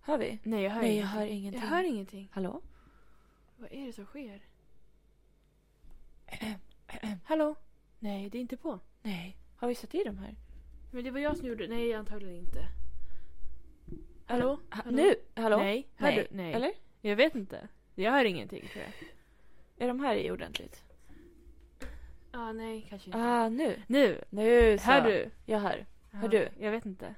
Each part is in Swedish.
Hör vi? Nej, jag hör Nej, jag ingenting. hör ingenting. Jag hör ingenting. Hallå? Vad är det som sker? Hallå? Nej, det är inte på. Nej. Har vi satt i de här? Men det var jag som gjorde Nej, antagligen inte. Hallå? Ha, Hallå? nu? Hallå? Nej. Hör Nej. du? Nej. Eller? Jag vet inte. Jag hör ingenting tror jag. Är de här i ordentligt? ah, nej, kanske inte. Ah, nu. Nu! Nu så. Hör du? Jag hör. Ja, du? Jag vet inte. Ah,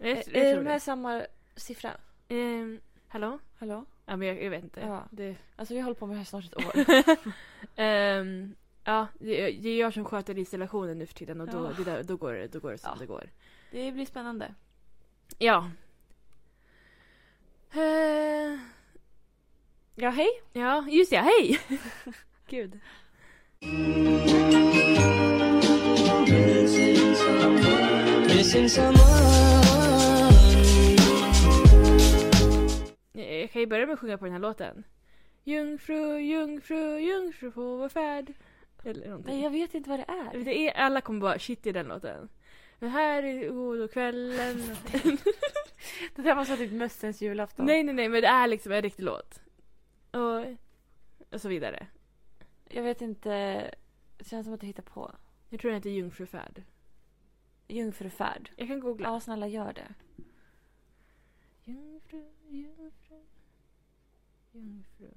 Eh, Jag, jag Är, tror är de det. här samma siffra? Ehm, hallå? Hallå? Ja, men jag, jag vet inte. Ja. Det, Alltså vi har hållit på med det här snart ett år. Ehm, ja, det, det är jag som sköter installationen nu för tiden och då, Ja. det där, då, går, det- då går det som Ja. det går. det blir spännande. Ja. Eh, Ja, hej. ja, just ja, hej! Gud. Missing someone. Jag, jag kan ju börja med att sjunga på den här låten. Jungfru, jungfru, jungfru på vår färd. Eller någonting. Nej, jag vet inte vad det Men är. Det är, alla kommer bara shit i den låten. Men här är godokvällen. Det där var så typ mössens julafton. nej, nej, nej, men det är liksom en riktig låt. Och, och så vidare. Jag vet inte. Det känns som att jag hittar på. Jag tror den heter Jungfrufärd. Jungfrufärd. Jag kan googla. Ja, snälla gör det. Jungfru, jungfru, jungfru.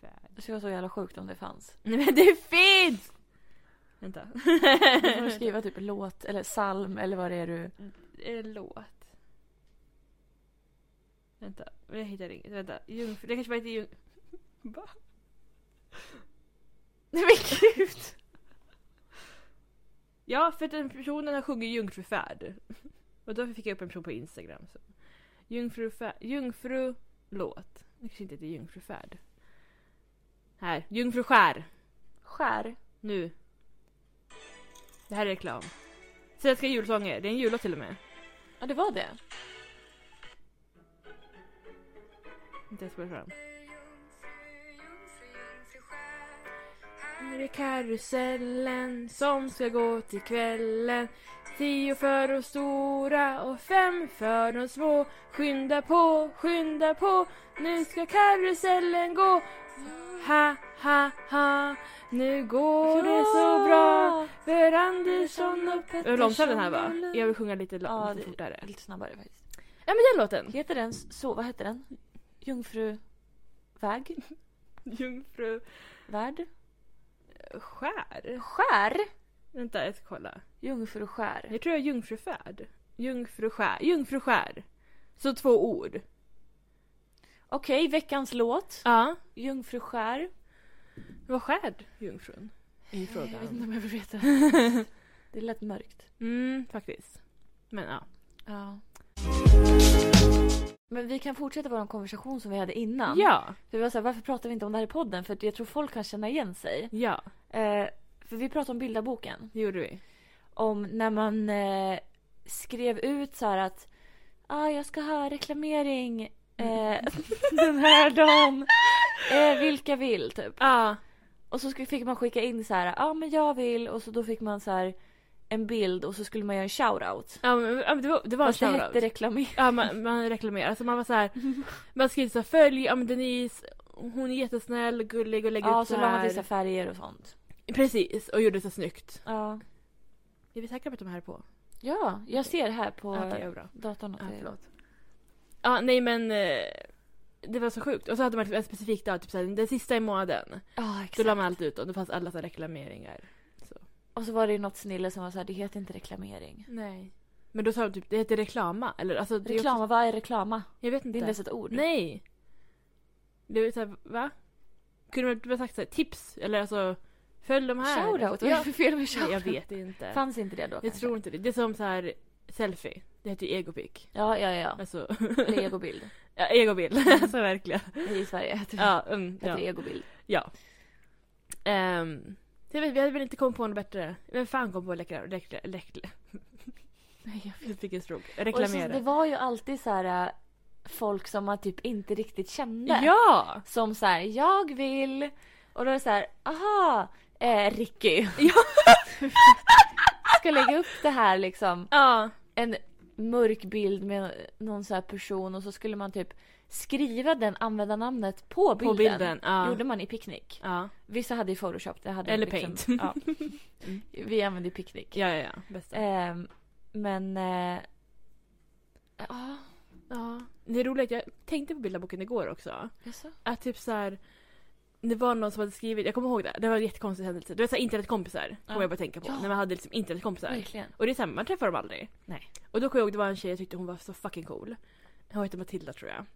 Färd. Det skulle vara så jävla sjukt om det fanns. Nej men det finns! Vänta. Då får du skriva typ låt eller psalm eller vad det är du... Eh, Låt. Vänta, men jag hittar inget. Vänta, jungfru. Det kanske var inte jung... Va? Nej men gud! Ja, för att den personen har sjungit Jungfrufärd. Och då fick jag upp en person på Instagram. Så. Jungfrufärd. Jungfru-låt. Det kanske inte heter Jungfrufärd. Här, Jungfruskär. Skär. Nu. Det här är reklam. Svenska julsånger. Det är en jullåt till och med. Ja, det var det. Inte ens fram. Här är karusellen som ska gå till kvällen. Tio för de stora och fem för de små. Skynda på, skynda på, nu ska karusellen gå. Ha, ha, ha, nu går det så bra för Andersson och Pettersson. Hur långsam den här var. Jag vill sjunga lite, lo- Ja, lite det- fortare. Lite snabbare faktiskt. Ja men den låten. Heter den så? Vad heter den? Jungfruväg? Jungfru Värd? skär. Skär? Vänta, jag ska kolla. Jungfruskär. Jag tror jag är jungfrufärd. Jungfruskär. Jungfruskär. Så två ord. Okej, veckans låt. Ja. Jungfruskär. Vad skärd jungfrun? I Jag vet inte frågan. om jag vill veta. Det lät mörkt. Mm, faktiskt. Men ja. Ja. Men vi kan fortsätta vår konversation som vi hade innan. Ja. För vi var så här, varför pratar vi inte om det här i podden? För att jag tror folk kan känna igen sig. Ja, Eh, för vi pratade om bildarboken. det gjorde vi. Om när man eh, skrev ut så här att ah, jag ska ha reklamering eh, den här dagen. Eh, vilka vill typ. Ja. Och så sk- fick man skicka in så här, ja ah, men jag vill och så då fick man så här en bild och så skulle man göra en shoutout. ja, men, ja men det var, det var en Fast det hette shoutout. reklamering. Ja, man, man reklamerar. Alltså man var så här. Man skrev så här, följ, ja men Denise. Hon är jättesnäll, gullig och lägger Ja, typ upp så så la man här. till så här färger och sånt. Precis, och gjorde så snyggt. Ja. Är vi säkra på att de här är på? Ja, jag ser här på Okej, ja, bra. datorn att Ja, det- förlåt. Ja, nej men eh, det var så sjukt. Och så hade man en specifik dag, typ såhär, den sista i månaden. Ja, Då exakt. la man allt ut och det fanns alla så här reklameringar. Och så var det ju något snille som var så här, det heter inte reklamering. Nej. Men då sa de typ, det heter reklama. Eller alltså, det är Reklama, Också, vad är reklama? jag vet Det är inte. inte ens ett ord. nej! Det var såhär, va? Kunde man inte bara sagt såhär, tips? Eller alltså, följ de här. Shoutout, vad är det Ja, för fel med shoutout? jag vet inte. Fanns inte det då jag kanske? tror inte det. Det är som så här selfie. Det heter ju egopic. Ja, ja, ja. Alltså, Eller egobild. ja, egobild. Mm. alltså verkligen. I Sverige heter det, Ja, mm, heter ja. det egobild. Ja. Ehm, jag vet, vi hade väl inte kommit på något bättre. Vem fan kom på läckra, läckra, läckra. Nej, jag vet. fick en stroke. Och så, det Reklamera. var ju alltid så här äh, folk som man typ inte riktigt kände. Ja! Som så här, jag vill. Och då är det så här, aha, eh, Ricky. Ja. Ska lägga upp det här liksom. Ja. En mörk bild med någon så här person och så skulle man typ skriva den användarnamnet på bilden. På bilden. Ja. Gjorde man i Picknick. ja. Vissa hade ju Photoshop. Det hade Eller liksom, Paint. Ja. Vi använde ju Picknick. ja, ja, ja. Bästa. Ehm, men... eh, Ja, Ja. Det är roligt, jag tänkte på bildarboken igår också. jaså? Att typ så här. Det var någon som hade skrivit, jag kommer ihåg det, det var en jättekonstig händelse. Du vet såhär internetkompisar, Ja. kommer jag bara tänka på. Ja. När man hade liksom internetkompisar. Verkligen. Och det är såhär, man träffar dem aldrig. Nej. Och då kommer jag ihåg, det var en tjej jag tyckte hon var så fucking cool. Hon hette Matilda tror jag.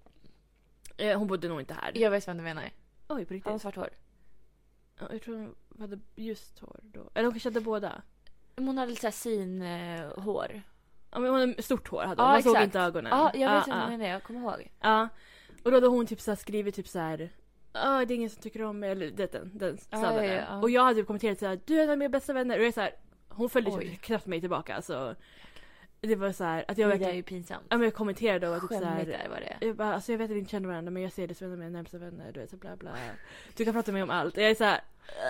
Eh, Hon bodde nog inte här. Jag vet vem du menar. Oj, på Han har riktigt? svart hår. Ja, jag tror hon hade ljust hår då. Eller hon kanske hade båda. Men Hon hade lite såhär hår. Ja, men hon hade stort hår hade hon. Ja, Man såg exakt. inte ögonen. Ja, jag vet Ja, vem ja. du menar. Jag kommer ihåg. Ja. Och då hade hon typ så här skrivit typ så här. Ja, det är ingen som tycker om mig. Eller det, den, den Ja, sadden. ja, ja. Och jag hade typ kommenterat så här. Du är en av mina bästa vänner. Och jag är så här. Hon följde Oj. typ knappt mig tillbaka. Så det var så här att jag Det där är verkligen. ju pinsamt. Ja, men jag kommenterade och var typ så Skämmigt här. där var det. Jag bara, alltså jag vet att vi inte känner varandra men jag ser dig som en av mina närmsta vänner. Du vet så bla bla. Du kan prata med mig om allt. Jag är så här.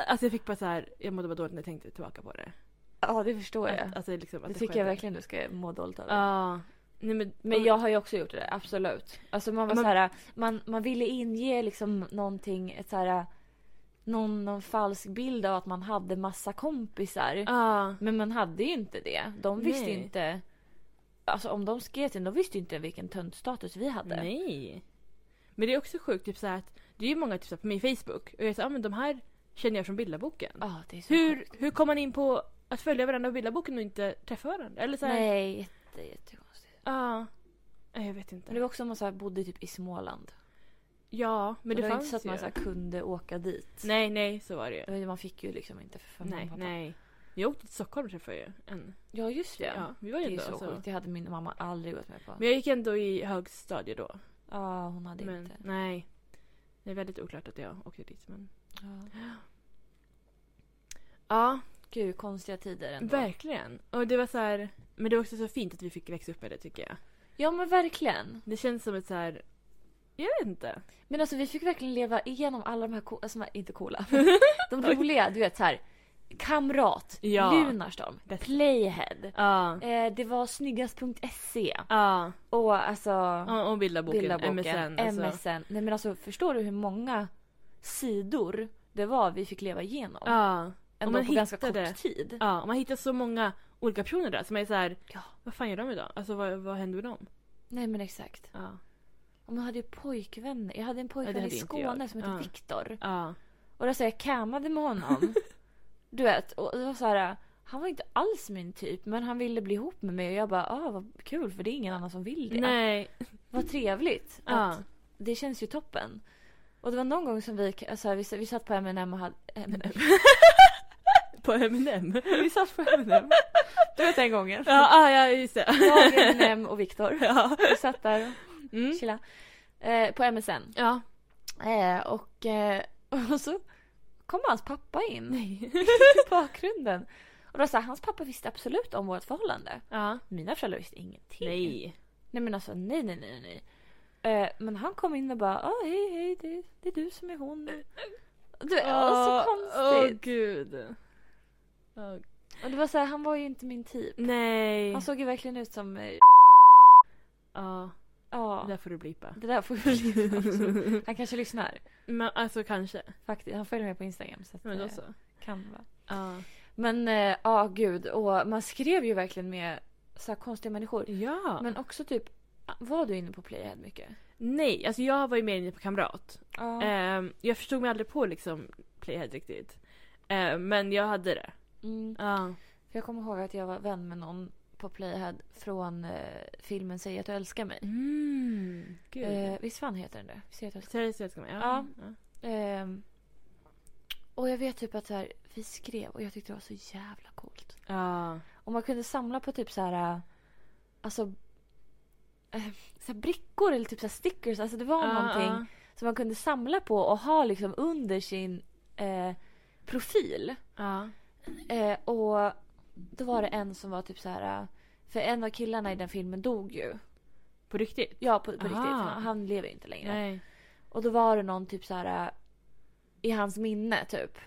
Alltså jag fick bara så här. Jag mådde bara dåligt när jag tänkte tillbaka på det. Ja, det förstår jag. Att, alltså, liksom, att Det tycker jag skedde. verkligen du ska må dåligt över. Ja. Nej, men, Men jag har ju också gjort det där, absolut. Alltså man var Men- så här, man, man ville inge liksom någonting, ett så här, någon, någon falsk bild av att man hade massa kompisar. Ja. Men man hade ju inte det. De visste Nej. inte. Alltså om de skrev till en, de visste ju inte vilken töntstatus vi hade. Nej. Men det är också sjukt, typ så här att det är ju många typ så här, på min Facebook och jag är så här, ah, men de här känner jag från bildarboken. Ja, Ah, det är så Hur, sjukt. hur kom man in på att följa varandra på bildarboken och inte träffa varandra? Eller så här, Nej, jätte, jättekonstigt. Ja. Nej, jag vet Men det inte. var också om man så här bodde typ i Småland. Ja, men Men det, det, var fanns inte så att man ju. så här kunde åka dit. Nej, nej, så var det ju. Men Man fick ju liksom inte för mamma och Nej, pappa. nej. Jag åkte till Stockholm och träffade ju en. Ja, just det. Ja, vi var ju alltså. Det är ändå så så. sjukt. Det hade min mamma aldrig gått med på. Men jag gick ändå i högstadiet då. Ja, hon hade men inte. nej. Det är väldigt oklart att jag åkte dit men. Ja. Ja, Gud, konstiga tider ändå. verkligen. Och det var så här, men det var också så fint att vi fick växa upp med det tycker jag. ja, men verkligen. Det känns som ett så här. Jag vet inte. Men alltså vi fick verkligen leva igenom alla de här, co- alltså, inte coola, de roliga, du vet så här. Kamrat, Ja. Lunarstorm, Det- Playhead. Ja. Eh, det var snyggast.se Ja. och alltså Och, och bildarboken, Bildarboken, MSN. Alltså. MSN. Nej men alltså förstår du hur många sidor det var vi fick leva igenom? Ja. och Ändå man på ganska hittade. kort tid. ja. och Man hittar så många olika personer där som är så här. Ja. Vad fan gör de idag? Alltså vad, vad händer med dem? Nej men exakt. Ja. Och man hade ju pojkvänner. Jag hade en pojkvän hade i inte Skåne jag. som hette Ja. Viktor. Ja. Och då så jag cammade med honom. du vet, och det var så här. Han var inte alls min typ men han ville bli ihop med mig och jag bara ah vad kul för det är ingen annan som vill det. Nej. Vad trevligt. Ja. Att det känns ju toppen. Och det var någon gång som vi, alltså, vi, vi satt på M&M och hade... M&M. På M&M. Vi satt på M&M. Du vet den gången. ja, ah, ja, just det. Jag, M&M och Viktor. Ja. Vi satt där Mm. och chillade. Eh, på MSN. Ja. Eh, och, eh, och så kom hans pappa in Nej. i bakgrunden. Och då sa hans pappa visste absolut om vårt förhållande. Ja. Mina föräldrar visste ingenting. Nej. Nej men alltså nej nej nej nej. Eh, men han kom in och bara ah, hej hej det, det är du som är hon. Du, vet, Åh, åh, så Ah, Åh konstigt. gud. Åh, Alltså, Och det var så här, han var ju inte min typ. Nej. Han såg ju verkligen ut som eh, ja. Det ja. där får du blipa. Det där får vi leva med. Han kanske lyssnar. Men alltså kanske. Faktiskt. Han följer mig på Instagram. Så att, Men då eh, så. kan vara. Ja. Men ja, eh, ah, gud. Och man skrev ju verkligen med så här konstiga människor. Ja. Men också typ, var du inne på Playhead mycket? Eh, Nej, alltså jag var ju mer inne på kamrat. Ja. Ehm, jag förstod mig aldrig på liksom Playhead riktigt. Ehm, men jag hade det. Mm. Ja. För jag kommer ihåg att jag var vän med någon på Playhead från eh, filmen Säg att du älskar mig. Mm. Gud. Eh, visst fan heter den det? Säg att du älskar Seriöst, jag ska med. Ja. Ja. ja. mig. Ehm, och jag vet typ att så här, vi skrev och jag tyckte det var så jävla coolt. Ja. Och man kunde samla på typ så här, eh, alltså, eh, så här brickor eller typ så här stickers. Alltså det var Ja, någonting ja. som man kunde samla på och ha liksom under sin eh, profil. Ja. Eh, och då var det en som var typ så här. eh, För en av killarna i den filmen dog ju. På riktigt? Ja, på, på riktigt. Aha. Han, han lever ju inte längre. Nej. Och då var det någon typ så här eh, i hans minne typ.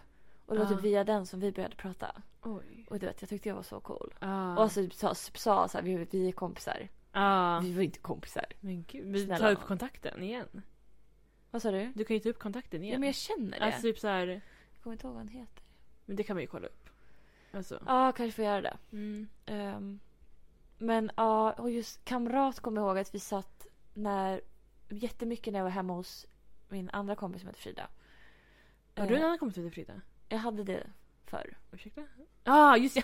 Och det var Ja. typ via den som vi började prata. Oj. Och du vet, jag tyckte jag var så cool. Ja. Och så typ sa, sa så här, vi, vi är kompisar. ja. Vi var inte kompisar. Men gud, vi Snälla tar upp nån. kontakten igen. Vad sa du? Du kan ju ta upp kontakten igen. Ja, men jag känner det. Alltså typ så här, jag kommer inte ihåg vad han heter. men det kan man ju kolla upp. Alltså. Ja, kanske får göra det. Mm. Ehm, men ja, och just kamrat kommer jag ihåg att vi satt när, jättemycket när jag var hemma hos min andra kompis som heter Frida. Har du en Eh, annan kompis som heter Frida? Jag hade det förr. Ursäkta? Ja, ah, just det.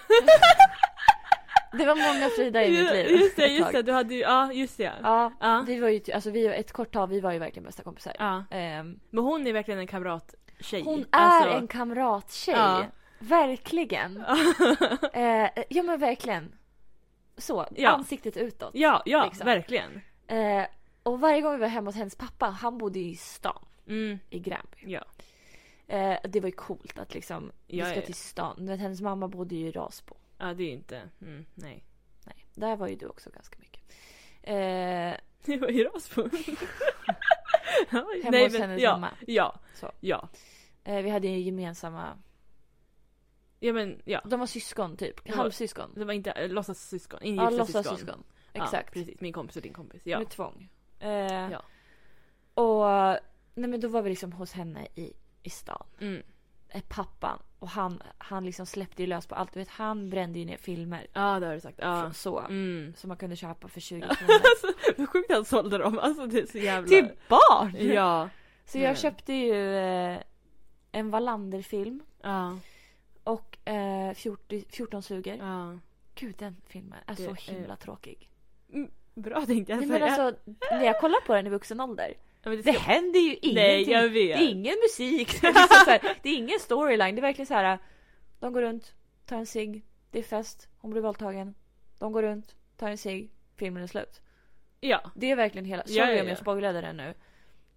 Det var många Frida i mitt liv. Just det, ett just tag. det. Du hade ju, ja just det. Ja. Ja, Ja. vi var ju, ty- alltså vi, ett kort tag, vi var ju verkligen bästa kompisar. Ehm, Men hon är verkligen en kamrattjej. hon är Alltså, en kamrattjej. Ja. Verkligen. Eh, ja men verkligen. Så, Ja. ansiktet utåt. Ja, ja Liksom. verkligen. Eh, och varje gång vi var hemma hos hennes pappa, han bodde i stan, Mm. i Gränby. Ja. Eh, det var ju coolt att liksom, vi Ja, ska ja, ja. till stan. Men hennes mamma bodde ju i Rasbo. ja, det är ju inte... Mm, nej. Nej, där var ju du också ganska mycket. Eh, Det var ju Rasmus. ja, hemma nej, hos men- hennes ja, mamma. Ja, Så. ja. Eh, vi hade ju gemensamma, Ja, men ja. de var syskon typ, Ja. halvsyskon. Det var inte äh, låtsassyskon, Ja, ingifta låtsassyskon. Exakt. Ja, precis. Min kompis och din kompis. Ja. Med tvång. Eh, Ja. Och nej men då var vi liksom hos henne i, i stan. Mm. Eh, Pappan. Och han, han liksom släppte ju lös på allt. Du vet, han brände ju ner filmer. Ja, det har du sagt. Ja. från Så. Mm. Som man kunde köpa för 20 kronor. Vad sjukt han sålde dem. Alltså det är så jävla... Till barn! Ja. Så jag Mm. köpte ju eh, en Wallander-film. Ja. Och eh, 14, 14 suger. ja. Gud den filmen är Det så är- himla tråkig. Bra tänkte jag Nej, säga. men alltså, när jag kollar på den i vuxen ålder. Ja, men det Det ska- händer ju ingenting. Nej, jag Det vet. är ingen musik. Det är, liksom så här, det är ingen storyline. Det är verkligen så här. De går runt, tar en cigg. Det är fest. Hon blir våldtagen. De går runt, tar en cigg. Filmen är slut. Ja, Det är verkligen hela... Sorry Ja, ja, om jag ja. spoilade den nu.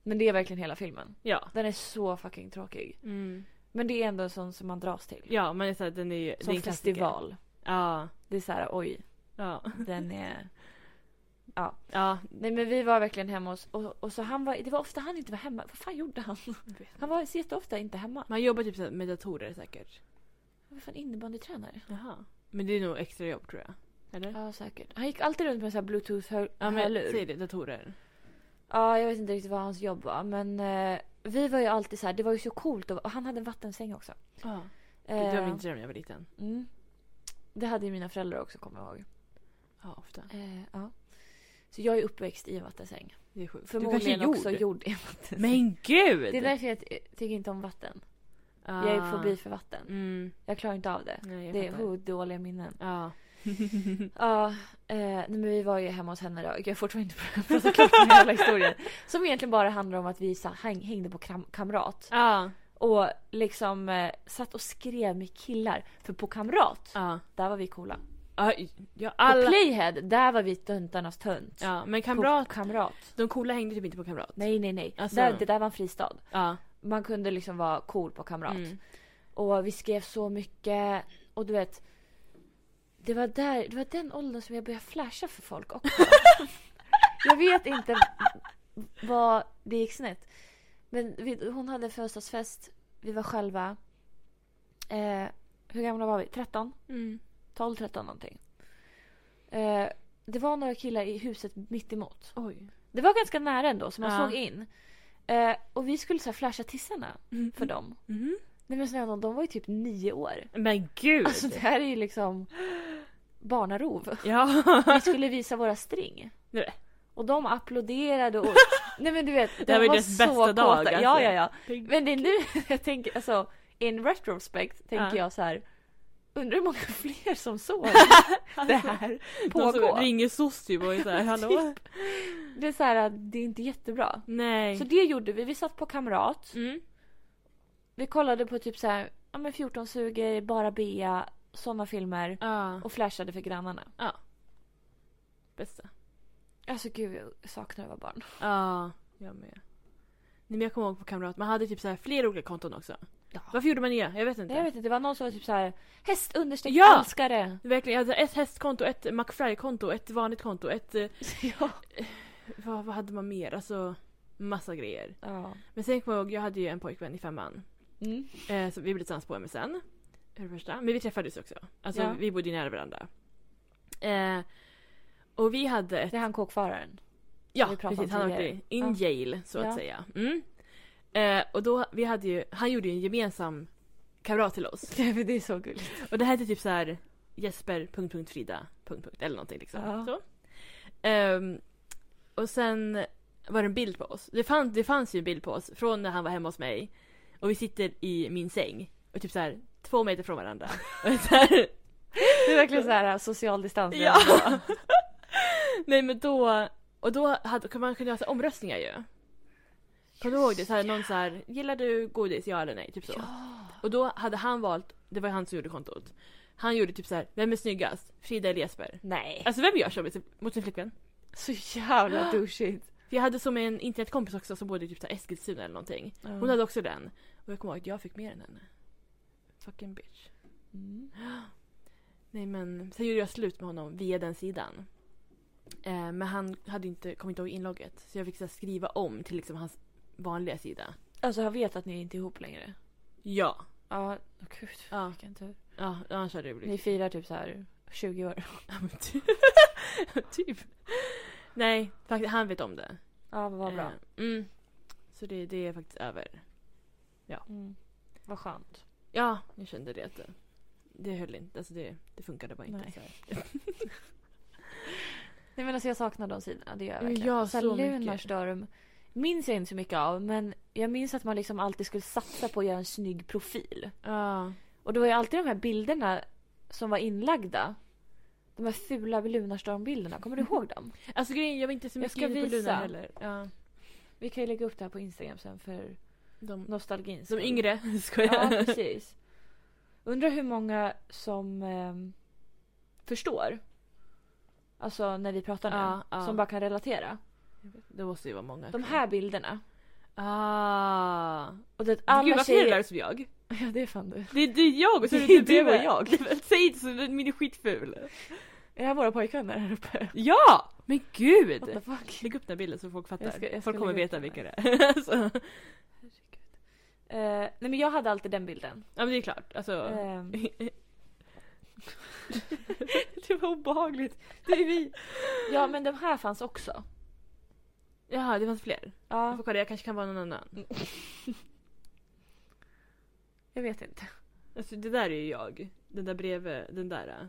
Men det är verkligen hela filmen. ja. Den är så fucking tråkig. Mm. Men det är ändå en sån som man dras till. Ja, men det är så här, den är ju... det är Som en klassiker. festival. Ja. Det är så här, oj. Ja. Den är... Ja. Nej men vi var verkligen hemma hos... Och, och så han var... Det var ofta han inte var hemma. Vad fan gjorde han? Han var så jätteofta inte hemma. Man jobbar typ så här med datorer säkert. Han var fan innebandytränare. Jaha. Men det är nog extra jobb tror jag. Eller? Ja, säkert. Han gick alltid runt med en sån här bluetooth-hörlur. Ja, men säg Ja, det. Datorer. ja, jag vet inte riktigt vad hans jobb var. Men eh, vi var ju alltid så här, det var ju så coolt. Och, och han hade en vattensäng också. Ja. Eh, Det var min dröm när jag var liten. mm. Det hade ju mina föräldrar också, kommer jag ihåg. Ja, ofta. Eh, ja. Så jag är uppväxt i en vattensäng. Det är sjukt. Förmodligen gjorde. också gjord i en vattensäng. Men gud! Ah. Det är därför jag ty- tycker inte om vatten. Jag är fobi för vatten. Mm. Jag klarar inte av det. Nej, jag Det är fattar. Mm. oh, dåliga minnen. Ja. Ja, eh, nej, men vi var ju hemma hos henne då. Jag har fortfarande inte pratat klart om den jävla historien. Som egentligen bara handlar om att vi sa, häng, hängde på kam, kamrat. Ja. Och liksom eh, satt och skrev med killar. För på kamrat, Ja. där var vi coola. Ja, ja, På alla... playhead, där var vi töntarnas tönt. Ja, men På kamrat. kamrat. De coola hängde typ inte på kamrat. Nej, nej, nej. Alltså- Där, det där var en fristad. Ja. Man kunde liksom vara cool på kamrat. Mm. Och vi skrev så mycket. Och du vet. Det var, där, det var den åldern som jag började flasha för folk också. jag vet inte vad det gick snett. Men vi, hon hade en födelsedagsfest. Vi var själva. Eh, hur gamla var vi? 13? Mm. 12, 13 någonting. Eh, det var några killar i huset mitt emot. Oj. Det var ganska nära ändå så man Ja. såg in. Eh, och vi skulle så här flasha tissarna för dem. Mhm. Nej men snälla nån, de var ju typ nio år. Men gud! Alltså det här är ju liksom barnarov. Ja. Vi skulle visa våra string. Nej. Och de applåderade och... Nej men du vet, de Det här var ju var, deras så bästa kåta. dag, alltså. Ja, ja, ja. Tänk- Men det är nu jag tänker, alltså in retrospect tänker Ja. jag så här. Undrar hur många fler som såg det här Någon som pågå. ringer soc typ och är såhär hallå? Det är så här, att det är inte jättebra. Nej. Typ. Så det gjorde vi. Vi satt på kamrat. Mm. Vi kollade på typ så här, ja men 14 suger, bara bea, sådana filmer. Ja. Och flashade för grannarna. Bästa. Alltså gud, jag saknar att vara barn. Ja. Jag med. Nej men jag kommer ihåg på kamrat, man hade typ så här flera olika konton också. Ja. Varför gjorde man det? Jag vet inte. Jag vet inte, det var någon som var typ så här häst understreck Ja! älskare. Verkligen, jag hade ett hästkonto, ett McFry-konto, ett vanligt konto, ett... eh, ja. Vad, vad hade man mer? Alltså massa grejer. ja. Men sen kommer jag ihåg, jag hade ju en pojkvän i femman. Mm. Eh, som vi blev tillsammans på MSN. för det första. Men vi träffades också. Alltså Ja. vi bodde ju nära varandra. Eh, och vi hade ett... Det är han kåkfararen. Ja, vi pratade om precis. Han åkte tidigare. in Ja. jail, så att Ja. säga. Mm. Eh, och då, vi hade ju... Han gjorde ju en gemensam kamrat till oss. det är så gulligt. Och det här är typ så här Jesper... Punkt, punkt, Frida... Punkt, punkt, eller någonting liksom. Ja. Så. Ehm, och sen var det en bild på oss. Det, fann, det fanns ju en bild på oss från när han var hemma hos mig. Och vi sitter i min säng. Och typ så här två meter från varandra. Och så här, Det är verkligen så här äh, social distans. Ja. Nej men då, och då hade, kan man kunde göra så här omröstningar ju. Kommer du ihåg det? Så här, någon så här, gillar du godis? Ja eller nej? Typ så. Och då hade han valt, det var ju han som gjorde kontot. Han gjorde typ så här, vem är snyggast? Frida eller Jesper? Nej. Alltså vem gör så mot sin- mot sin flickvän? Alltså, Så jävla douchigt. För jag hade som en internetkompis också som bodde i typ så här Eskilstuna eller någonting. Hon Mm. hade också den. Och jag kommer ihåg att jag fick mer än henne. Fucking bitch. Mm. Nej men sen gjorde jag slut med honom via den sidan. Eh, men han hade inte, kom inte ihåg inlogget. Så jag fick så här, skriva om till liksom hans vanliga sida. Alltså han vet att ni inte är ihop längre. Ja. Ja, åh, gud. Ja, Vilken tur. ja ja, han körde Ni ju firar typ så här 20 år. Typ. Nej, faktiskt, han vet om det. Ja, vad bra. Eh, mm. Så det, det är faktiskt över. Mm. Vad skönt. Ja, jag kände det. att det- Det höll inte. Alltså det, det funkade bara inte. Nej. Så här. Nej men alltså jag saknar de sidorna, det gör jag Men verkligen. jag Och så mycket. Lunarstorm minns jag inte så mycket av men jag minns att man liksom alltid skulle satsa på att göra en snygg profil. Ja. Och det var ju alltid de här bilderna som var inlagda. De här fula Lunarstorm-bilderna, kommer du ihåg dem? Alltså grejen, jag var inte så Jag mycket ska inne på Luna visa. heller. Ja. Vi kan ju lägga upp det här på Instagram sen för De, nostalgin. de yngre. Skojar. Ja, precis. Undrar hur många som ehm, förstår. Alltså när vi pratar nu. Ja, ja. Som bara kan relatera. Det måste ju vara många. De här bilderna. Ah. Och det, Alla Gud alla varför är det tjejer... där som jag? Ja, det är fan du. Det är, det är jag och så är Det det är du du. och jag. Säg inte så, min är skitful. Är det här våra pojkvänner här uppe? Ja! Men gud! What the fuck? Lägg upp den här bilden så folk fattar. Jag ska- jag ska folk kommer lägga upp veta den vilka det är. så. Ja Eh, nej men jag hade alltid den bilden. men det är klart. Alltså. Ehm, det var obehagligt. Det är vi. ja men de här fanns också. Jaha det fanns fler. Jag Ja, får kolla jag kanske kan vara någon annan. jag vet inte. Alltså det där är ju jag. Den där bredvid, den där. äh.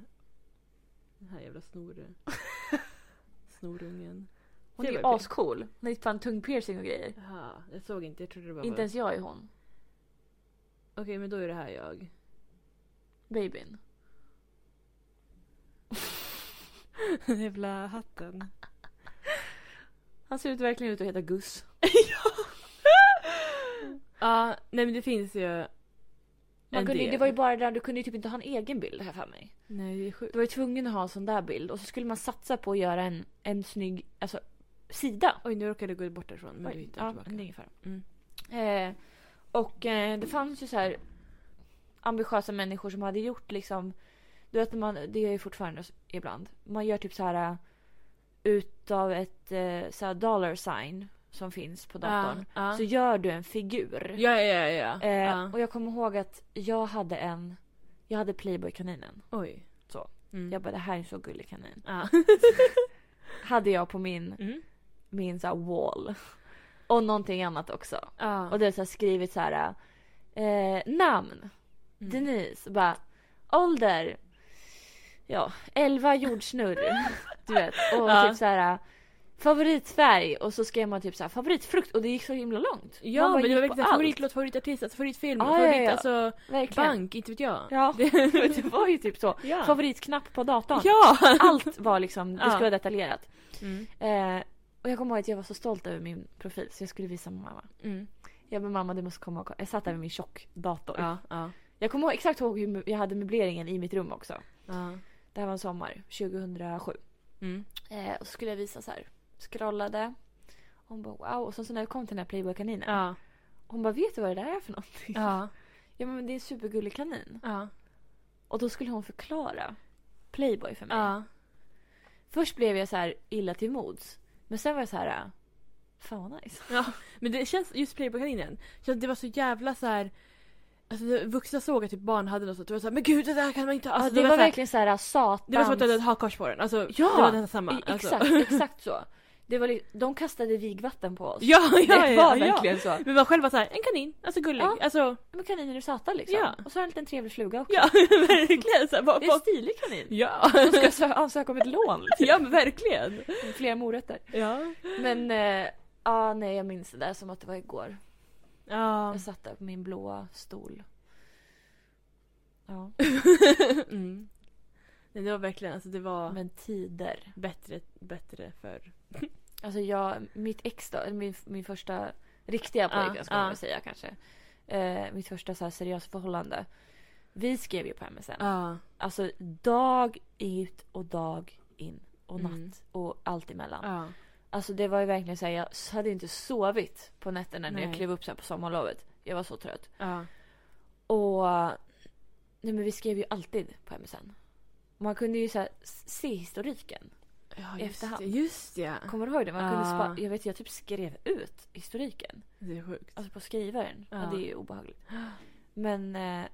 Den här jävla snor... Snorungen. Hon är Det ju var ju ascool. Hon har ju fan tungpiercing och grejer. Jaha, jag såg inte. Jag trodde det bara var... Inte ens jag är hon. Okej men då är det här jag. Babyn. Den jävla hatten. Han ser ut verkligen ut att heta Gus. Ja, nej men det finns ju Man en kunde, ju- del. det var ju bara det där, du kunde ju typ inte ha en egen bild här för mig. Nej det är sjukt. Du var ju tvungen att ha en sån där bild och så skulle man satsa på att göra en, en snygg alltså, sida. Oj nu råkade jag gå bort därifrån men Oj, du hittar ja, tillbaka. men det är ingen fara. Mm. Eh, och eh, det fanns ju så här ambitiösa människor som hade gjort liksom, du vet när man, det gör jag fortfarande s- ibland, man gör typ så här eh, utav ett eh, så här dollar sign som finns på datorn. Ja, Så gör du en figur. ja, ja, ja, ja. Eh, ja. Och jag kommer ihåg att jag hade en, jag hade Playboy-kaninen. Oj. Så. Mm. Jag bara det här är en så gullig kanin. Ja. Hade jag på min, Mm. min så här wall. Och någonting annat också. Ja. Och det är så här skrivit så här eh, namn. Mm. Denise. Bara ålder. Ja, 11 jordsnurr. du vet. Och Ja. typ så här favoritfärg och så skrev man typ så här favoritfrukt och det gick så himla långt. Ja Man bara men det gick var liksom på verkligen allt. såhär, favoritlåt, favoritartist, alltså favoritfilm, Ja, ja, favorit, ja. alltså Verkligen. bank, inte vet jag. Ja, det var ju typ så. Ja. Favoritknapp på datorn. Ja! Allt var liksom, det Ja. skulle vara detaljerat. Mm. Eh, och jag kommer ihåg att jag var så stolt över min profil så jag skulle visa min mamma. Mm. Jag bara mamma du måste komma och kolla. Jag satt där med min tjockdator. Ja, ja. Jag kommer ihåg, exakt ihåg hur mö- jag hade möbleringen i mitt rum också. ja. Det här var en sommar, 2007. Mm. Eh, och så skulle jag visa så här. Scrollade. Hon bara wow. Och så, så när jag kom till den här Playboy-kaninen. Ja, Hon bara vet du vad det där är för någonting? ja, ja men det är en supergullig kanin. ja. Och då skulle hon förklara Playboy för mig. ja. Först blev jag så här illa till mods. Men sen var jag så här. äh, Fan vad nice. Men det känns, just Playboy-kaninen, känns- det var så jävla så här. Alltså när vuxna såg att typ barn hade något sånt. Det var såhär, men gud det där kan man inte ha. Alltså, det, var såhär- verkligen så här satans... Det var som att du hade ett hakkors på den. Alltså, Ja! det var den samma. I- Alltså. Exakt, exakt så. Det var li... De kastade vigvatten på oss. Ja, ja, ja. det var ja. verkligen så. Men man själv var såhär, en kanin. Alltså gullig. Ja. Alltså, Men kaninen är satan liksom. Ja. Och så har den en liten trevlig fluga också. ja verkligen. Så här, bara, Det är en bara, stilig kanin. ja. Som ska sö- ansöka om ett lån. liksom. ja, men verkligen. Flera morötter. Ja. Men eh, ja, nej jag minns det där som att det var igår. Ja. Jag satt där på min blåa stol. Ja, Mm. Nej, det var verkligen, alltså det var men tider. bättre, bättre för Alltså jag, mitt ex då, eller min, min första riktiga Ja, pojkvän ska man ja. väl säga kanske. Eh, mitt första så här seriösa förhållande. Vi skrev ju på MSN. Ja. Alltså dag ut och dag in. Och natt Mm. och allt emellan. Ja. Alltså det var ju verkligen så här, jag hade inte sovit på nätterna när jag Nej. klev upp så här på sommarlovet. Jag var så trött. Ja. Och nej men vi skrev ju alltid på MSN. Man kunde ju så här, s- se historiken. Ja, I just efterhand. det. Just ja. Kommer du ihåg det? Man kunde Ja. spa- jag vet jag typ skrev ut historiken. Det är sjukt. Alltså på skrivaren. Ja. Ja. det är ju obehagligt. Men eh,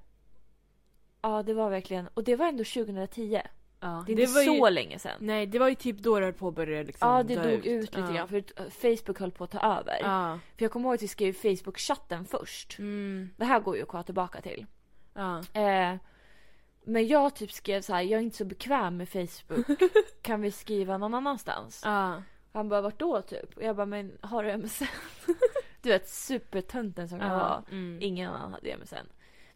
ja det var verkligen, och det var ändå 2010. ja. Det är inte var så ju, länge sedan. Nej, det var ju typ då det höll på att börja liksom Ja, det dö dog ut, lite ja. grann. För eh, Facebook höll på att ta över. Ja. För jag kommer ihåg att vi skrev Facebook-chatten först. Mm. Det här går ju att komma tillbaka till. Ja. Eh, men jag typ skrev så här, jag är inte så bekväm med Facebook. kan vi skriva någon annanstans? Ja. Han bara, vart då typ? Och jag bara, men har du MSN? du vet, supertönten som kan vara. Ja. Mm. Ingen annan hade MSN.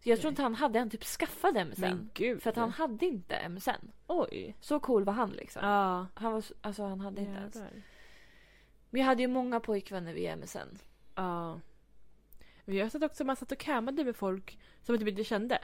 Så jag tror inte han hade, han typ skaffade MSN. Men gud. För att han hade inte MSN. Oj. Så cool var han liksom. Ja. Han var, så- alltså han hade inte ens. Jävlar. Men jag hade ju många pojkvänner E via MSN. Ja. Men jag satt också, man satt och cammade med folk som man typ inte kände.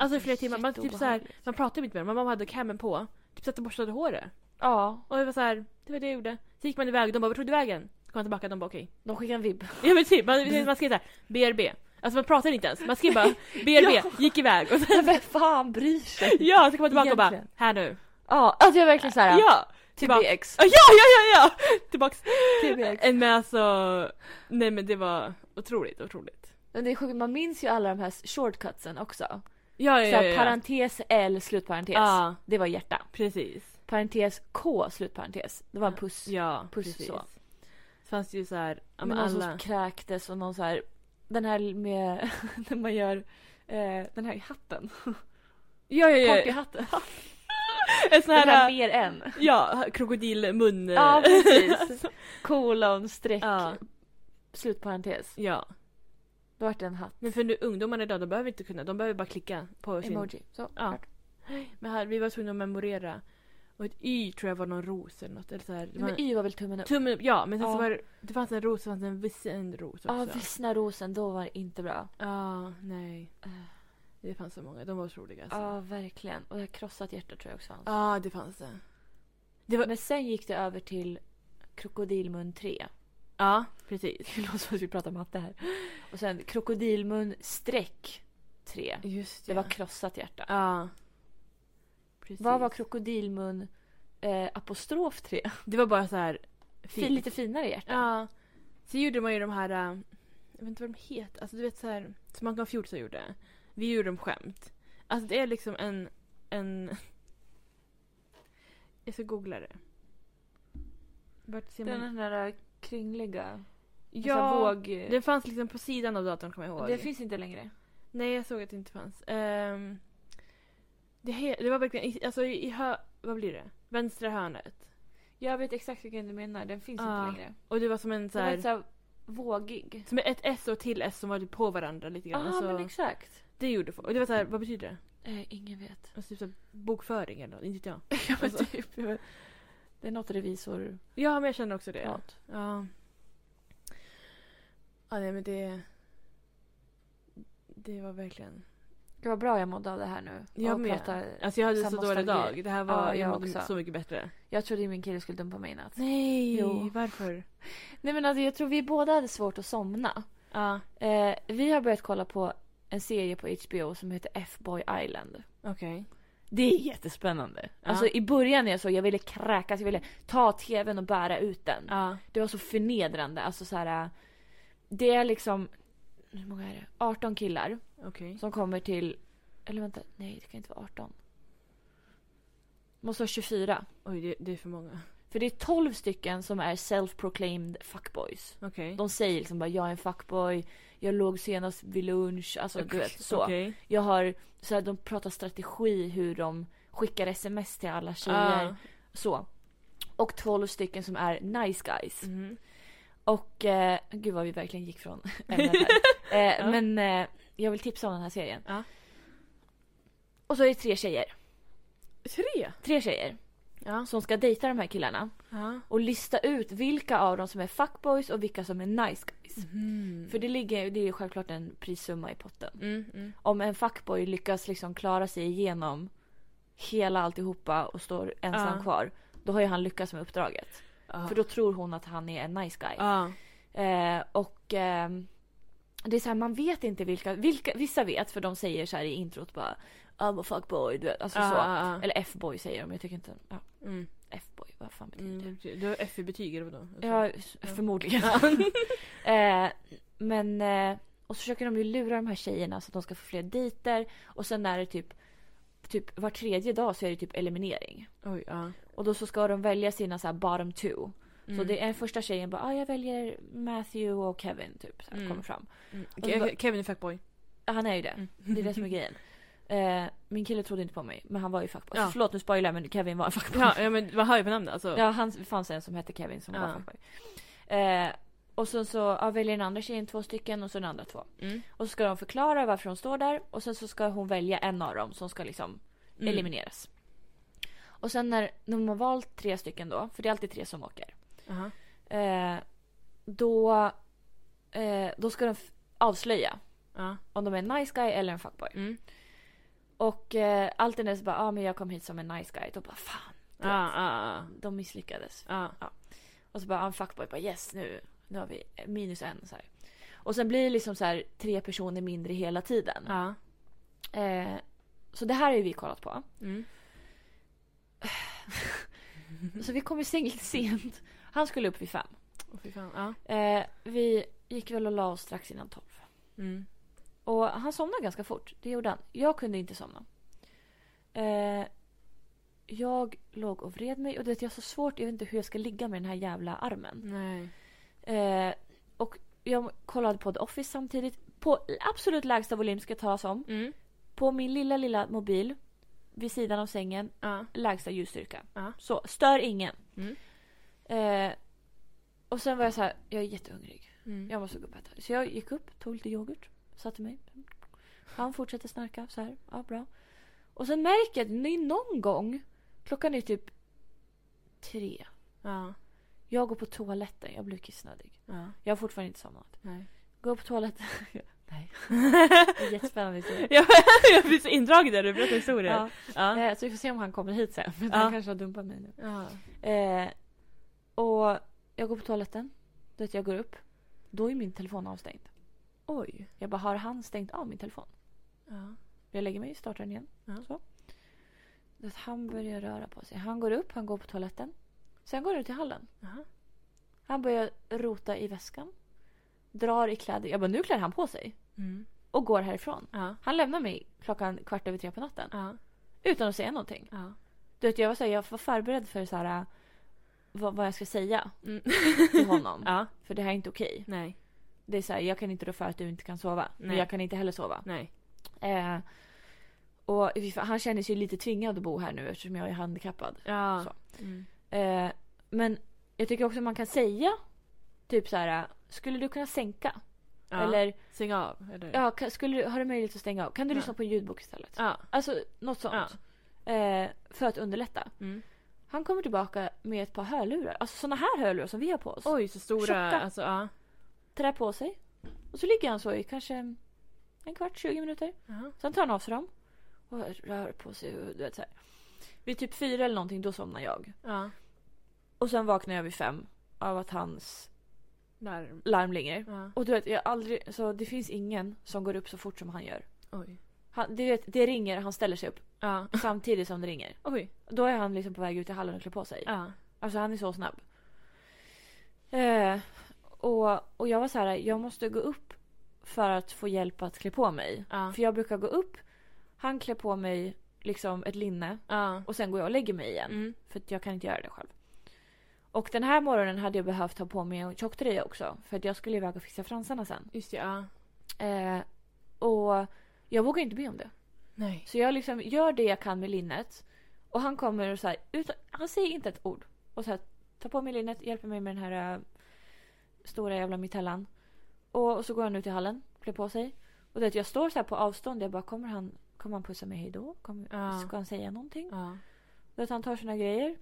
Alltså i flera timmar. Man, typ så här, man pratade inte med dem. Man bara hade cammen på. Typ satt och borstade håret. Ja, Och jag var så här, det var det jag gjorde. Så gick man iväg, de bara vart tog du vägen? Så kom man tillbaka, de bara okej. de skickade en vibb. Ja men typ, man, man skrev såhär BRB. Alltså man pratade inte ens, man skrev bara BRB, Ja. gick iväg. Och sen, Vem fan bryr sig? ja, så kom man tillbaka och Egentligen. bara här nu. Ja, alltså jag är verkligen typ såhär. Ja! Tillbaka. TBX. Ja, ja, ja, ja! Tillbaks. TBX. En med alltså, nej men det var otroligt, otroligt. Men det är sjukt, man minns ju alla de här shortcutsen också. Ja, ja, Såhär ja. ja. parentes L slutparentes. Ja. Det var hjärta. Precis. Parentes K slutparentes. Det var en puss. Ja, Puss precis. så. Det fanns ju såhär, ja Men men någon alla. som kräktes och någon så här. Den här med, när man gör eh, den här i hatten. Ja, ja, ja. Hockeyhatten. En sån Den här här, mer än. ja, krokodilmun. Ja precis. Kolon, streck, Ja. slutparentes. Ja. Då vart det en hatt. Men för nu ungdomarna idag, de behöver inte kunna. De behöver bara klicka på sin... Emoji. Så, Ja. Men här, vi var tvungna att memorera. Och ett Y tror jag var någon ros eller något. Eller så här. Det var Men Typ Y var väl tummen upp? Tummen upp, ja. Men sen Ja. så var det, det fanns en ros, det fanns en vissen ros också. Ja, vissna rosen, då var det inte bra. Ja, nej. Det fanns så många. De var otroliga alltså. Eh, Ja, verkligen. Och jag krossat hjärta tror jag också fanns. Ja, det fanns det. det var... Men sen gick det över till Krokodilmun 3. Ja, precis. Det låter som att vi pratar matte här. Och sen Krokodilmun streck 3. Just Det ja. var krossat hjärta. Ja. Precis. Vad var Krokodilmun eh, apostrof 3? Det var bara så här... Fin. Lite finare hjärta. Ja. Sen gjorde man ju de här, äh, jag vet inte vad de heter, alltså du vet så här, som Malcolm Fjordsson gjorde. Vi gjorde dem skämt. Alltså det är liksom en, en... Jag ska googla det. Vart ser man? Den där eh, kringliga. Alltså, Ja, våg... den fanns liksom på sidan av datorn kommer jag ihåg. det finns inte längre. Nej, jag såg att det inte fanns. Ehm, det, he- det var verkligen, i- alltså i, i hö... Vad blir det? Vänstra hörnet. Jag vet exakt vilken du menar. Den finns Ja. inte längre. Och det var som en så Den var här, lite så här vågig. som ett S och till S som var typ på varandra lite Ja, grann. alltså, men exakt. det gjorde folk. Och det var så här, vad betyder det? Eh, ingen vet. Alltså typ så här, bokföring eller något, inte vet jag. Ja, men Alltså. typ. Det är något revisor Ja men jag känner också det. Ja. prat. Ja, nej men det... Det var verkligen... Gud vad bra jag mådde av det här nu. Jag Och med. prata- Alltså jag hade så Samma dålig nostalgi. dag. Det här var... Ja, jag jag mådde också. så mycket bättre. Jag trodde ju min kille skulle dumpa mig i natt. Nej! Jo. Varför? Nej men alltså jag tror vi båda hade svårt att somna. Ja, Eh, vi har börjat kolla på en serie på HBO som heter F-Boy Island. okej. Det är jättespännande. Ja. Alltså i början när jag såg, jag ville kräkas, jag ville ta tvn och bära ut den. Ja. Det var så förnedrande. Alltså så här. äh, Det är liksom hur många är det? 18 killar Okej. som kommer till, eller vänta, nej det kan inte vara 18. Måste vara 24. Oj, det, det är för många. För det är 12 stycken som är self-proclaimed fuckboys. Okej. De säger liksom bara jag är en fuckboy, jag låg senast vid lunch, alltså du vet så. Okej. Jag har, så här, de pratar strategi hur de skickar sms till alla tjejer. Ah. Så. Och 12 stycken som är nice guys. Mhm. Och eh, gud vad vi verkligen gick från ämnet här. Eh, Ja. Men eh, jag vill tipsa om den här serien. Ja. Och så är det tre tjejer. Tre? Tre tjejer Ja. som ska dejta de här killarna. ja. Och lista ut vilka av dem som är fuckboys och vilka som är nice guys. Mm. För det ligger det är ju självklart en prissumma i potten. Mm, mm. Om en fuckboy lyckas liksom klara sig igenom hela alltihopa och står ensam Ja. kvar. Då har ju han lyckats med uppdraget. Ah. För då tror hon att han är en nice guy. Ah. Eh, och ehm, det är så här, man vet inte vilka, vilka. Vissa vet för de säger så här i introt bara I'm a fuckboy. Du vet, alltså Ah, så. ah, ah. Eller F-boy säger de. Jag tycker inte... Ja, Mm. F-boy, vad fan betyder det? Mm. Du har F i betyg eller vadå? Ja, s- förmodligen. eh, men... Eh, och så försöker de ju lura de här tjejerna så att de ska få fler dejter. Och sen är det typ... Typ var tredje dag så är det typ eliminering. Oj, ja. Och då så ska de välja sina så här bottom two. Så Mm. det är första tjejen bara ah, jag väljer Matthew och Kevin typ. Så här, Mm. kommer fram. Mm. så Ke- bara- Kevin är fuckboy. Ja, Han är ju det. Mm. Det är det som är grejen. Eh, min kille trodde inte på mig men han var ju fuckboy. Alltså, Ja. Förlåt nu spoilar jag, men Kevin var en fuckboy. Ja, ja men vad hör ju på namnet alltså. Ja, han, det fanns en som hette Kevin som var Ja. fuckboy. Eh, och sen så ja, väljer den andra tjejen två stycken och så den andra två. Mm. Och så ska de förklara varför hon står där och sen så ska hon välja en av dem som ska liksom Mm. elimineras. Och sen när, när de har valt tre stycken då, för det är alltid tre som åker. Aha. Eh, då, eh, då ska de f- avslöja Ja. om de är en nice guy eller en fuckboy. Mm. Och eh, allt det där så bara, ja ah, men jag kom hit som en nice guy. Då bara fan, Ja, ja, de misslyckades. ja. Och så bara, ah, en fuckboy bara yes nu, nu har vi minus en så här. Och sen blir det liksom så här tre personer mindre hela tiden. Ja. Eh, så det här har ju vi kollat på. Mm. Så vi kom i säng lite sent. Han skulle upp vid fem. Åh, fy fan. Ja. Eh, vi gick väl och la oss strax innan tolv. Mm. Och han somnade ganska fort. Det gjorde han. Jag kunde inte somna. Eh, jag låg och vred mig och det är så svårt. Jag vet inte hur jag ska ligga med den här jävla armen. Nej. Eh, och jag kollade på The Office samtidigt. På absolut lägsta volym ska talas om. Mm. På min lilla, lilla mobil. Vid sidan av sängen. Ja. Lägsta ljusstyrka. Ja. Så, stör ingen. Mm. Eh, och sen var jag så här, jag är jättehungrig. Mm. Jag måste gå upp och äta. Så jag gick upp, tog lite yoghurt, satte mig. Han fortsätter snarka så här. Ja, bra. Och sen märker jag att ni någon gång, klockan är typ tre. Ja. Jag går på toaletten, jag blir kissnödig. Ja. Jag har fortfarande inte somnat. Nej. Går på toaletten. Nej. Det är jättespännande historia. jag, jag blir så indragen där du berättar historier. Ja. Ja. Ja. Eh, Så vi får se om han kommer hit sen. Men Ja. Han kanske har dumpat mig nu. Eh, och jag går på toaletten. Du vet, jag går upp. Då är min telefon avstängd. Oj. Jag bara, har han stängt av min telefon? Ja. Jag lägger mig, startar den igen. Ja. Så. Du vet, han börjar röra på sig. Han går upp, han går på toaletten. Sen går han ut i hallen. Jaha. Han börjar rota i väskan. Drar i kläder. Jag bara, nu klär han på sig. Mm. Och går härifrån. Ja. Han lämnar mig klockan kvart över tre på natten. Ja. Utan att säga någonting. Ja. Du vet, jag var, så här, jag var förberedd för så här, äh, vad, vad jag ska säga Mm. till honom. Ja. För det här är inte okej. Nej. Det är så här, jag kan inte rå för att du inte kan sova. Men Nej. jag kan inte heller sova. Nej. Eh, och vi- han känner sig ju lite tvingad att bo här nu eftersom jag är handikappad. Ja. Så. Mm. Eh, men jag tycker också man kan säga typ så här, äh, skulle du kunna sänka? Ja. Eller, Stäng av. Eller? ja, kan, skulle du, har du möjlighet att stänga av? Kan du Ja. lyssna på en ljudbok istället? Ja. Alltså något sånt. Eh, för att underlätta. Mm. Han kommer tillbaka med ett par hörlurar. Alltså såna här hörlurar som vi har på oss. Oj, så stora. Tjocka. Alltså, ja. Trä på sig. Och så ligger han så i kanske en kvart, 20 minuter. Jaha. Sen tar han av sig dem. Och rör på sig och du vet så här. Vid typ fyra eller någonting då somnar jag. Ja. Och sen vaknar jag vid fem av att hans Larm. larm ringer. Ja. Och du vet, jag har aldrig, så det finns ingen som går upp så fort som han gör. Oj. Han, du vet, det ringer, han ställer sig upp Ja. samtidigt som det ringer. Oj. Då är han liksom på väg ut i hallen och klär på sig. Ja. Alltså han är så snabb. Eh, och, och jag var så här, jag måste gå upp för att få hjälp att klä på mig. Ja. För jag brukar gå upp, han klär på mig liksom ett linne Ja. och sen går jag och lägger mig igen. Mm. För att jag kan inte göra det själv. Och den här morgonen hade jag behövt ha på mig en tjocktröja också. För att jag skulle iväg och fixa fransarna sen. Just det, ja. Eh, och jag vågar inte be om det. Nej. Så jag liksom gör det jag kan med linnet. Och han kommer och så här, utan, han säger inte ett ord. Och så här, tar på mig linnet, hjälper mig med den här äh, stora jävla metallan. Och, och så går han ut i hallen, klär på sig. Och det, är att jag står så här på avstånd, jag bara kommer han, kommer han pussa mig hejdå? Kommer, Ja. Ska han säga någonting? Ja. Du vet, han tar sina grejer.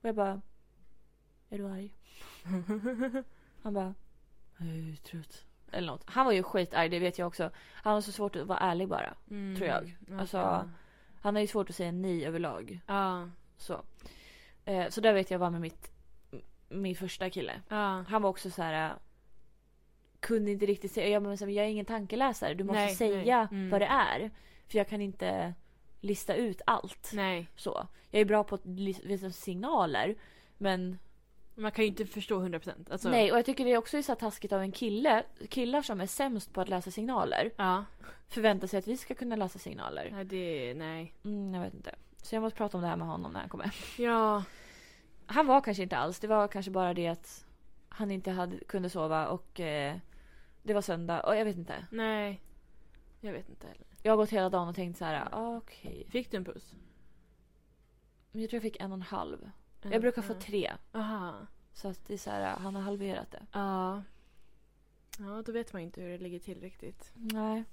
Och jag bara... Är du arg? han bara... Jag är trött. Eller något. Han var ju skitarg, det vet jag också. Han har så svårt att vara ärlig bara. Mm. Tror jag. Ja, Alltså- ja. Han har ju svårt att säga nej överlag. Ja. Så, eh, så där vet jag var med mitt, m- min första kille. Ja. Han var också så här... eh, Kunde inte riktigt säga. Jag, bara, men så här, jag är ingen tankeläsare. Du måste Nej, säga nej. Mm. vad det är. För jag kan inte lista ut allt. Nej. Så. Jag är bra på att lis- liksom signaler. Men Man kan ju inte förstå 100%. Alltså, Nej, och jag tycker det också är så taskigt av en kille. Killar som är sämst på att läsa signaler Ja. förväntar sig att vi ska kunna läsa signaler. Nej, det... Nej. Mm, jag vet inte. Så jag måste prata om det här med honom när han kommer. Ja. Han var kanske inte alls. Det var kanske bara det att han inte hade, kunde sova och eh, det var söndag. Och jag vet inte. Nej. Jag vet inte heller. Jag har gått hela dagen och tänkt så här. ah, Okej. Fick du en puss? Men jag tror jag fick en och en halv. Jag brukar få Ja. tre. Aha. Så att det är så här, han har halverat det. Ja. Ja, då vet man inte hur det ligger till riktigt. Nej,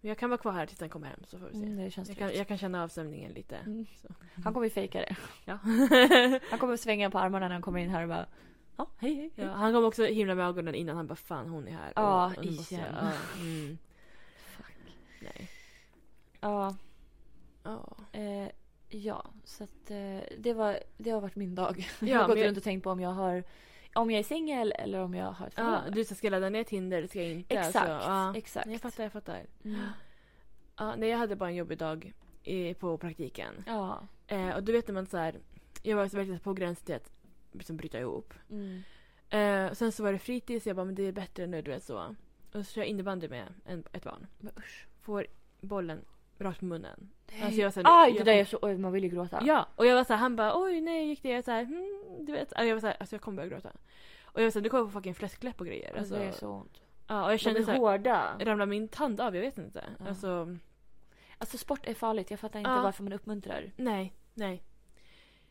Men jag kan vara kvar här tills han kommer hem så får vi se. mm, det känns Jag kan, tryggt. jag kan känna av sömningen lite. Mm. Så. Han kommer ju fejka det. Ja. Han kommer svänga på armarna när han kommer in här och bara... Ja, hej, hej. ja, han kom också himla med ögonen innan han bara fan hon är här. Ja, Och- och nu måste jag- igen. ja, mm. Fuck. Nej. Ja, Ja. eh, ja så att, eh, det, var, det har varit min dag. jag Ja, har gått men jag- runt och tänkt på om jag, har, om jag är singel eller om jag har ett Ja, förhållande. du ska ska jag ladda ner Tinder, det ska jag inte. exakt, alltså. Ja. exakt. Nej, Jag fattar, jag fattar. Mm. Ja, nej, jag hade bara en jobbig dag i, på praktiken. Ja. Eh, och du vet när man så här, jag var verkligen på gränsen till att liksom, bryta ihop. Mm. Eh, och sen så var det fritids, jag bara men det är bättre nu, du vet så. Och så kör jag innebandy med en, ett barn. Men usch. Får bollen rakt på munnen. Alltså, jag, så här- Aj, det Ah, jag- där är så... Oj, man vill ju gråta. Ja, och jag var så här, han bara oj nej gick det? Jag så här, hmm, du vet. Alltså, jag var så här, alltså jag kommer börja gråta. Och jag var så här, du kommer få fucking fläskläpp och grejer. Alltså, Alltså, det är så ont. ja, och jag De kände är så här, hårda. ramlar min tand av? Jag vet inte. Ja. Alltså, Alltså sport är farligt. Jag fattar inte Ja. varför man uppmuntrar. nej, nej.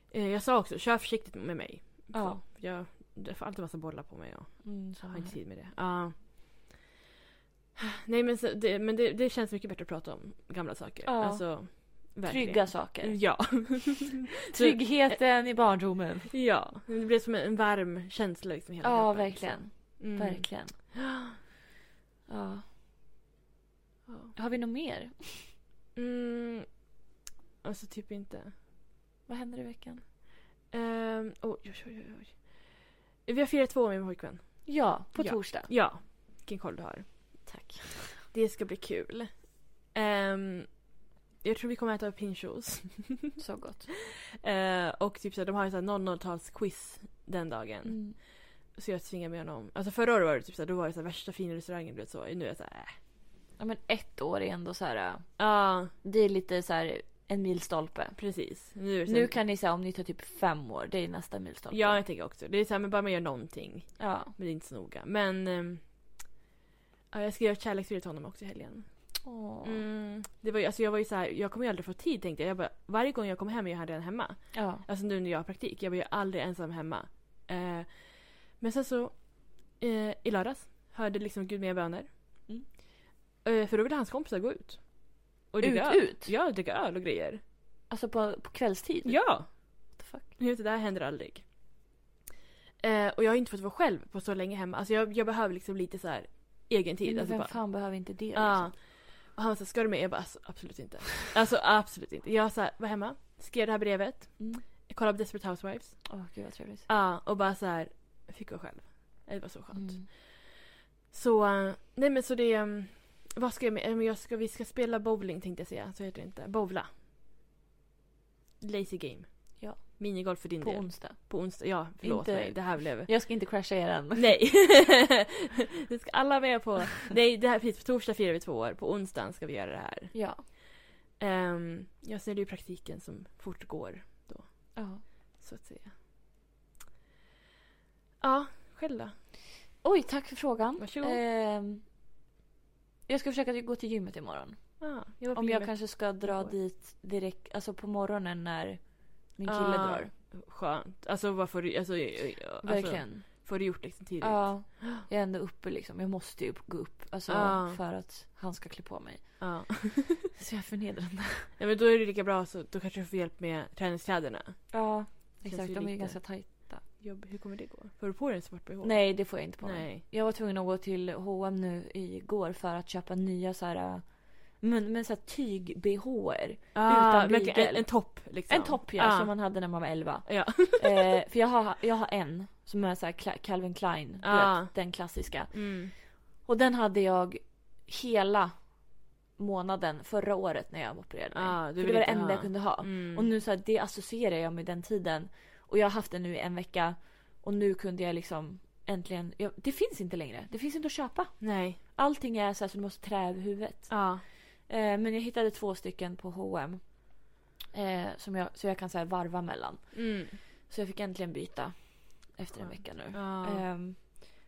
Eh, jag sa också, kör försiktigt med mig. Ja. Så, jag, jag får alltid massa bollar på mig och Mm, har inte tid med det. Ja. Nej men, så, det, men det, det känns mycket bättre att prata om gamla saker. Ja. Alltså, verkligen. Trygga saker. Ja. Tryggheten i barndomen. ja. Det blev som en varm känsla liksom i hela Ja, kroppen. verkligen. Mm. Verkligen. Ja. Har vi något mer? Mm. Alltså typ inte. Vad händer i veckan? Um, oj, oj, oj, oj. Vi har firat två år med min pojkvän. Ja, på Ja. torsdag. Ja. Vilken koll du har. Tack. Det ska bli kul. Ehm, jag tror vi kommer äta pinchos. Så gott. Eh, och typ så här, de har ju så här 00-talsquiz den dagen. Mm. Så jag tvingar med honom. Alltså förra året var det typ så här, då var det så här, värsta fina restaurangen du vet så. Nu är jag så här, äh. Ja, men ett år är ändå så här... äh, Ja, Det är lite så här en milstolpe. precis. Nu, är det så här- Nu kan ni säga om ni tar typ fem år, det är nästa milstolpe. Ja, jag tänker också. Det är så här, men bara man gör någonting. ja. Men det är inte så noga. Men ehm, ja, jag skrev ett kärleksbrev till honom också i helgen. Åh. Mm. Det var, ju- alltså jag var ju så här, jag kommer ju aldrig få tid tänkte jag. jag bara, varje gång jag kommer hem är jag redan hemma. ja. Alltså nu när jag har praktik. Jag var ju aldrig ensam hemma. Eh, men sen så eh, i lördags hörde liksom Gud mina böner. Mm. Eh, för då ville hans kompisar gå ut. Och Ut, dricka öl. ut? Ja, dricka öl och grejer. Alltså på, på kvällstid? Ja! What the fuck? Jag vet, det här händer aldrig. Eh, och jag har inte fått vara själv på så länge hemma. Alltså jag, jag behöver liksom lite så här egen tid. Men Alltså vem bara- fan behöver inte det? liksom? Ja. Och han var såhär, ska du med? Jag bara, alltså, absolut inte. Alltså absolut inte. Jag så här, var hemma, skrev det här brevet, Mm. jag kollade på Desperate Housewives. Åh gud vad trevligt. Ja, och bara så här, jag fick vara själv. Det var så skönt. Mm. Så, eh, nej men så det, eh, vad ska jag med? Eh, men Jag ska, vi ska spela bowling tänkte jag säga, så heter det inte. Bowla. Lazy game. Ja. Minigolf för din på del. onsdag. På onsdag. Ja, förlåt Inte- mig. Det här blev... Jag ska inte crasha er än. Nej! det ska alla med på. Nej, det här precis. På torsdag firar vi två år. På onsdagen ska vi göra det här. Ja. Um, ja, sen är det ju praktiken som fortgår, ja. så att säga. Ja, själv då? Oj, tack för frågan. Varsågod. Ehm, jag ska försöka gå till gymmet imorgon. Ja, jag var på Om jag gymmet. kanske ska dra igår. dit direkt, alltså på morgonen när min kille Ah, drar. Skönt. Alltså vad får du... Alltså, alltså, Verkligen. Får du gjort liksom tidigt? Ja, jag är ändå uppe liksom. Jag måste ju upp- gå upp alltså, Ja. för att han ska klä på mig. Ja. Så jag är förnedrande. Nej, men då är det lika bra så då kanske du får hjälp med träningskläderna. Ja, Känns exakt. ju De är ju lite- ganska tajta. Jobb, hur kommer det gå? Får du på dig en svart bh? Nej, det får jag inte på mig. Nej. Jag var tvungen att gå till H&M nu igår för att köpa nya så här, äh, men, men så här tyg-bh. Ah, Utan verkligen, bygel. en, en topp liksom. En topp ja, Ah. som man hade när man var 11. Ja. eh, för jag har, jag har en som är så här Cla- Calvin Klein, du Ah. vet, den klassiska. Mm. Och den hade jag hela månaden förra året när jag opererade mig. Ah, du för vill det var det inte enda ha. jag kunde ha. Mm. Och nu så här, det associerar jag med den tiden. Och jag har haft den nu i en vecka. Och nu kunde jag liksom äntligen. Jag, det finns inte längre. Det finns inte att köpa. Nej. Ah. Allting är så här så du måste trä över huvudet. Ja. Eh, men jag hittade två stycken på H&M. Eh, som jag, så jag kan så här varva mellan. Mm. Så jag fick äntligen byta. Efter en Skönt. vecka nu. Ja. Ehm,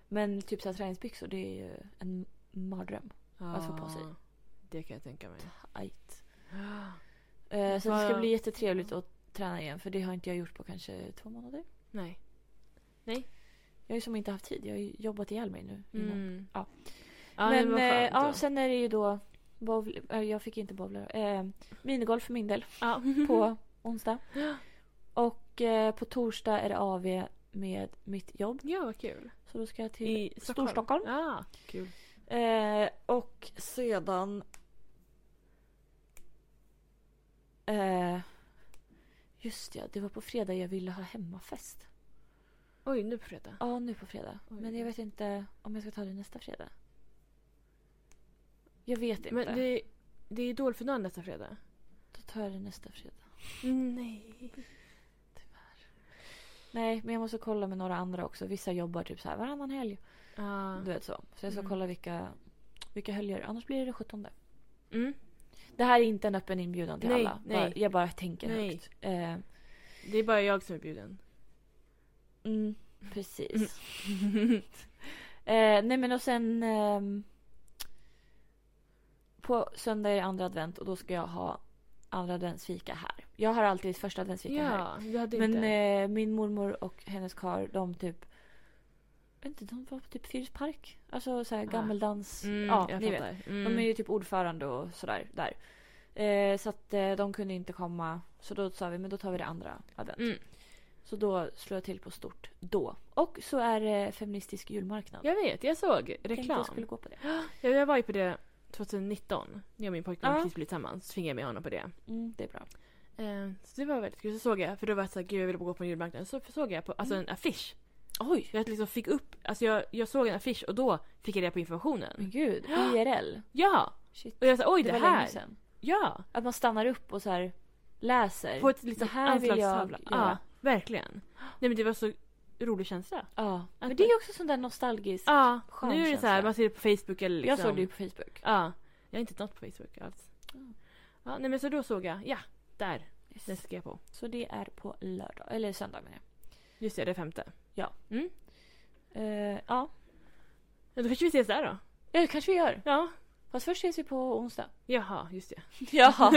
men typ så här träningsbyxor det är ju en mardröm. att få på sig. Ja, Ah. Det kan jag tänka mig. Ajt. Eh, så det ska Vad- bli jättetrevligt att träna igen. För det har inte jag gjort på kanske två månader. Nej. Jag har ju som inte haft tid. Jag har ju jobbat ihjäl mig nu. innan. Mm. Ja. Ja, men men, vad eh, skönt ja, då. sen är det ju då... Bowl, eh, jag fick inte bowlar. Eh, minigolf för min del Ja. på onsdag. Och eh, på torsdag är det AV med mitt jobb. ja, vad kul. Så då ska jag till I Stockholm. Storstockholm. Ja, kul. Eh, och sedan... Eh, just ja, det var på fredag jag ville ha hemmafest. Oj, nu på fredag. Ja, nu på fredag. Oj. Men jag vet inte om jag ska ta det nästa fredag. Jag vet inte. Men det, det är Idolfinalen nästa fredag. Då tar jag det nästa fredag. Nej. Nej, men jag måste kolla med några andra också. Vissa jobbar typ så här varannan helg. Ja. Du vet så. Så jag ska Mm. kolla vilka, vilka helger. Annars blir det det 17. Mm. Det här är inte en öppen inbjudan till Nej, alla. nej. Bara- Jag bara tänker Nej. högt. Eh, Det är bara jag som är bjuden. Mm, precis. eh, nej men och sen... ehm, på söndag är det andra advent och då ska jag ha andra adventsfika här. Jag har alltid första adventsfika här. Ja, du hade Men inte. eh, min mormor och hennes kar, de typ... Jag vet inte, de var på typ Fyris park. Alltså så här Ah. gammeldans. Mm, ja, jag ni vet. fattar. Mm. De är ju typ ordförande och sådär där. Eh, så att eh, de kunde inte komma. Så då sa vi, men då tar vi det andra advent. Mm. Så då slår jag till på stort då. Och så är det feministisk julmarknad. Jag vet, jag såg tänkte reklam. jag skulle gå på det. Ja, jag var ju på det 2019. När jag och min pojkvän Ja. precis blev tillsammans. Så tvingade jag med honom på det. Mm, det är bra. Eh, så det var väldigt kul. Så såg jag, för då var jag såhär, gud jag vill gå på en julmarknad. Så såg jag på, alltså Mm. en affisch. Oj! Jag liksom fick upp, alltså jag, jag såg en affisch och då fick jag reda på Men informationen. gud, IRL. Ja! Shit. Och jag sa, oj det, Mm. var länge här. sedan. Ja! Att man stannar upp och så här läser. På ett liksom Det här vill jag anslagstavla. Ja, göra. verkligen. Nej men det var så rolig känsla. Ja. Men Att- det är ju också sån där nostalgisk. Ja, Skön nu är det så här, känsla. man ser det på Facebook eller liksom. Jag såg det ju på Facebook. Ja, jag har inte något på Facebook alls. Mm. Ja, nej men så då såg jag, ja, där. Yes. Det ska jag på. Så det är på lördag, eller söndag menar jag. Just det, det är femte. Eh, ja, Ja, då kanske vi ses där då. ja det kanske vi gör. Ja. Fast först ses vi på onsdag. Jaha, just det. Jaha, fan.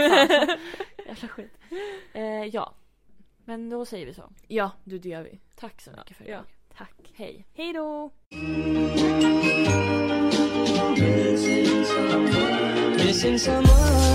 Jävla skit. Eh, ja. Men då säger vi så. Ja, du det gör vi. Tack så mycket för ja. idag. Tack. Hej. Hej då! Missing someone.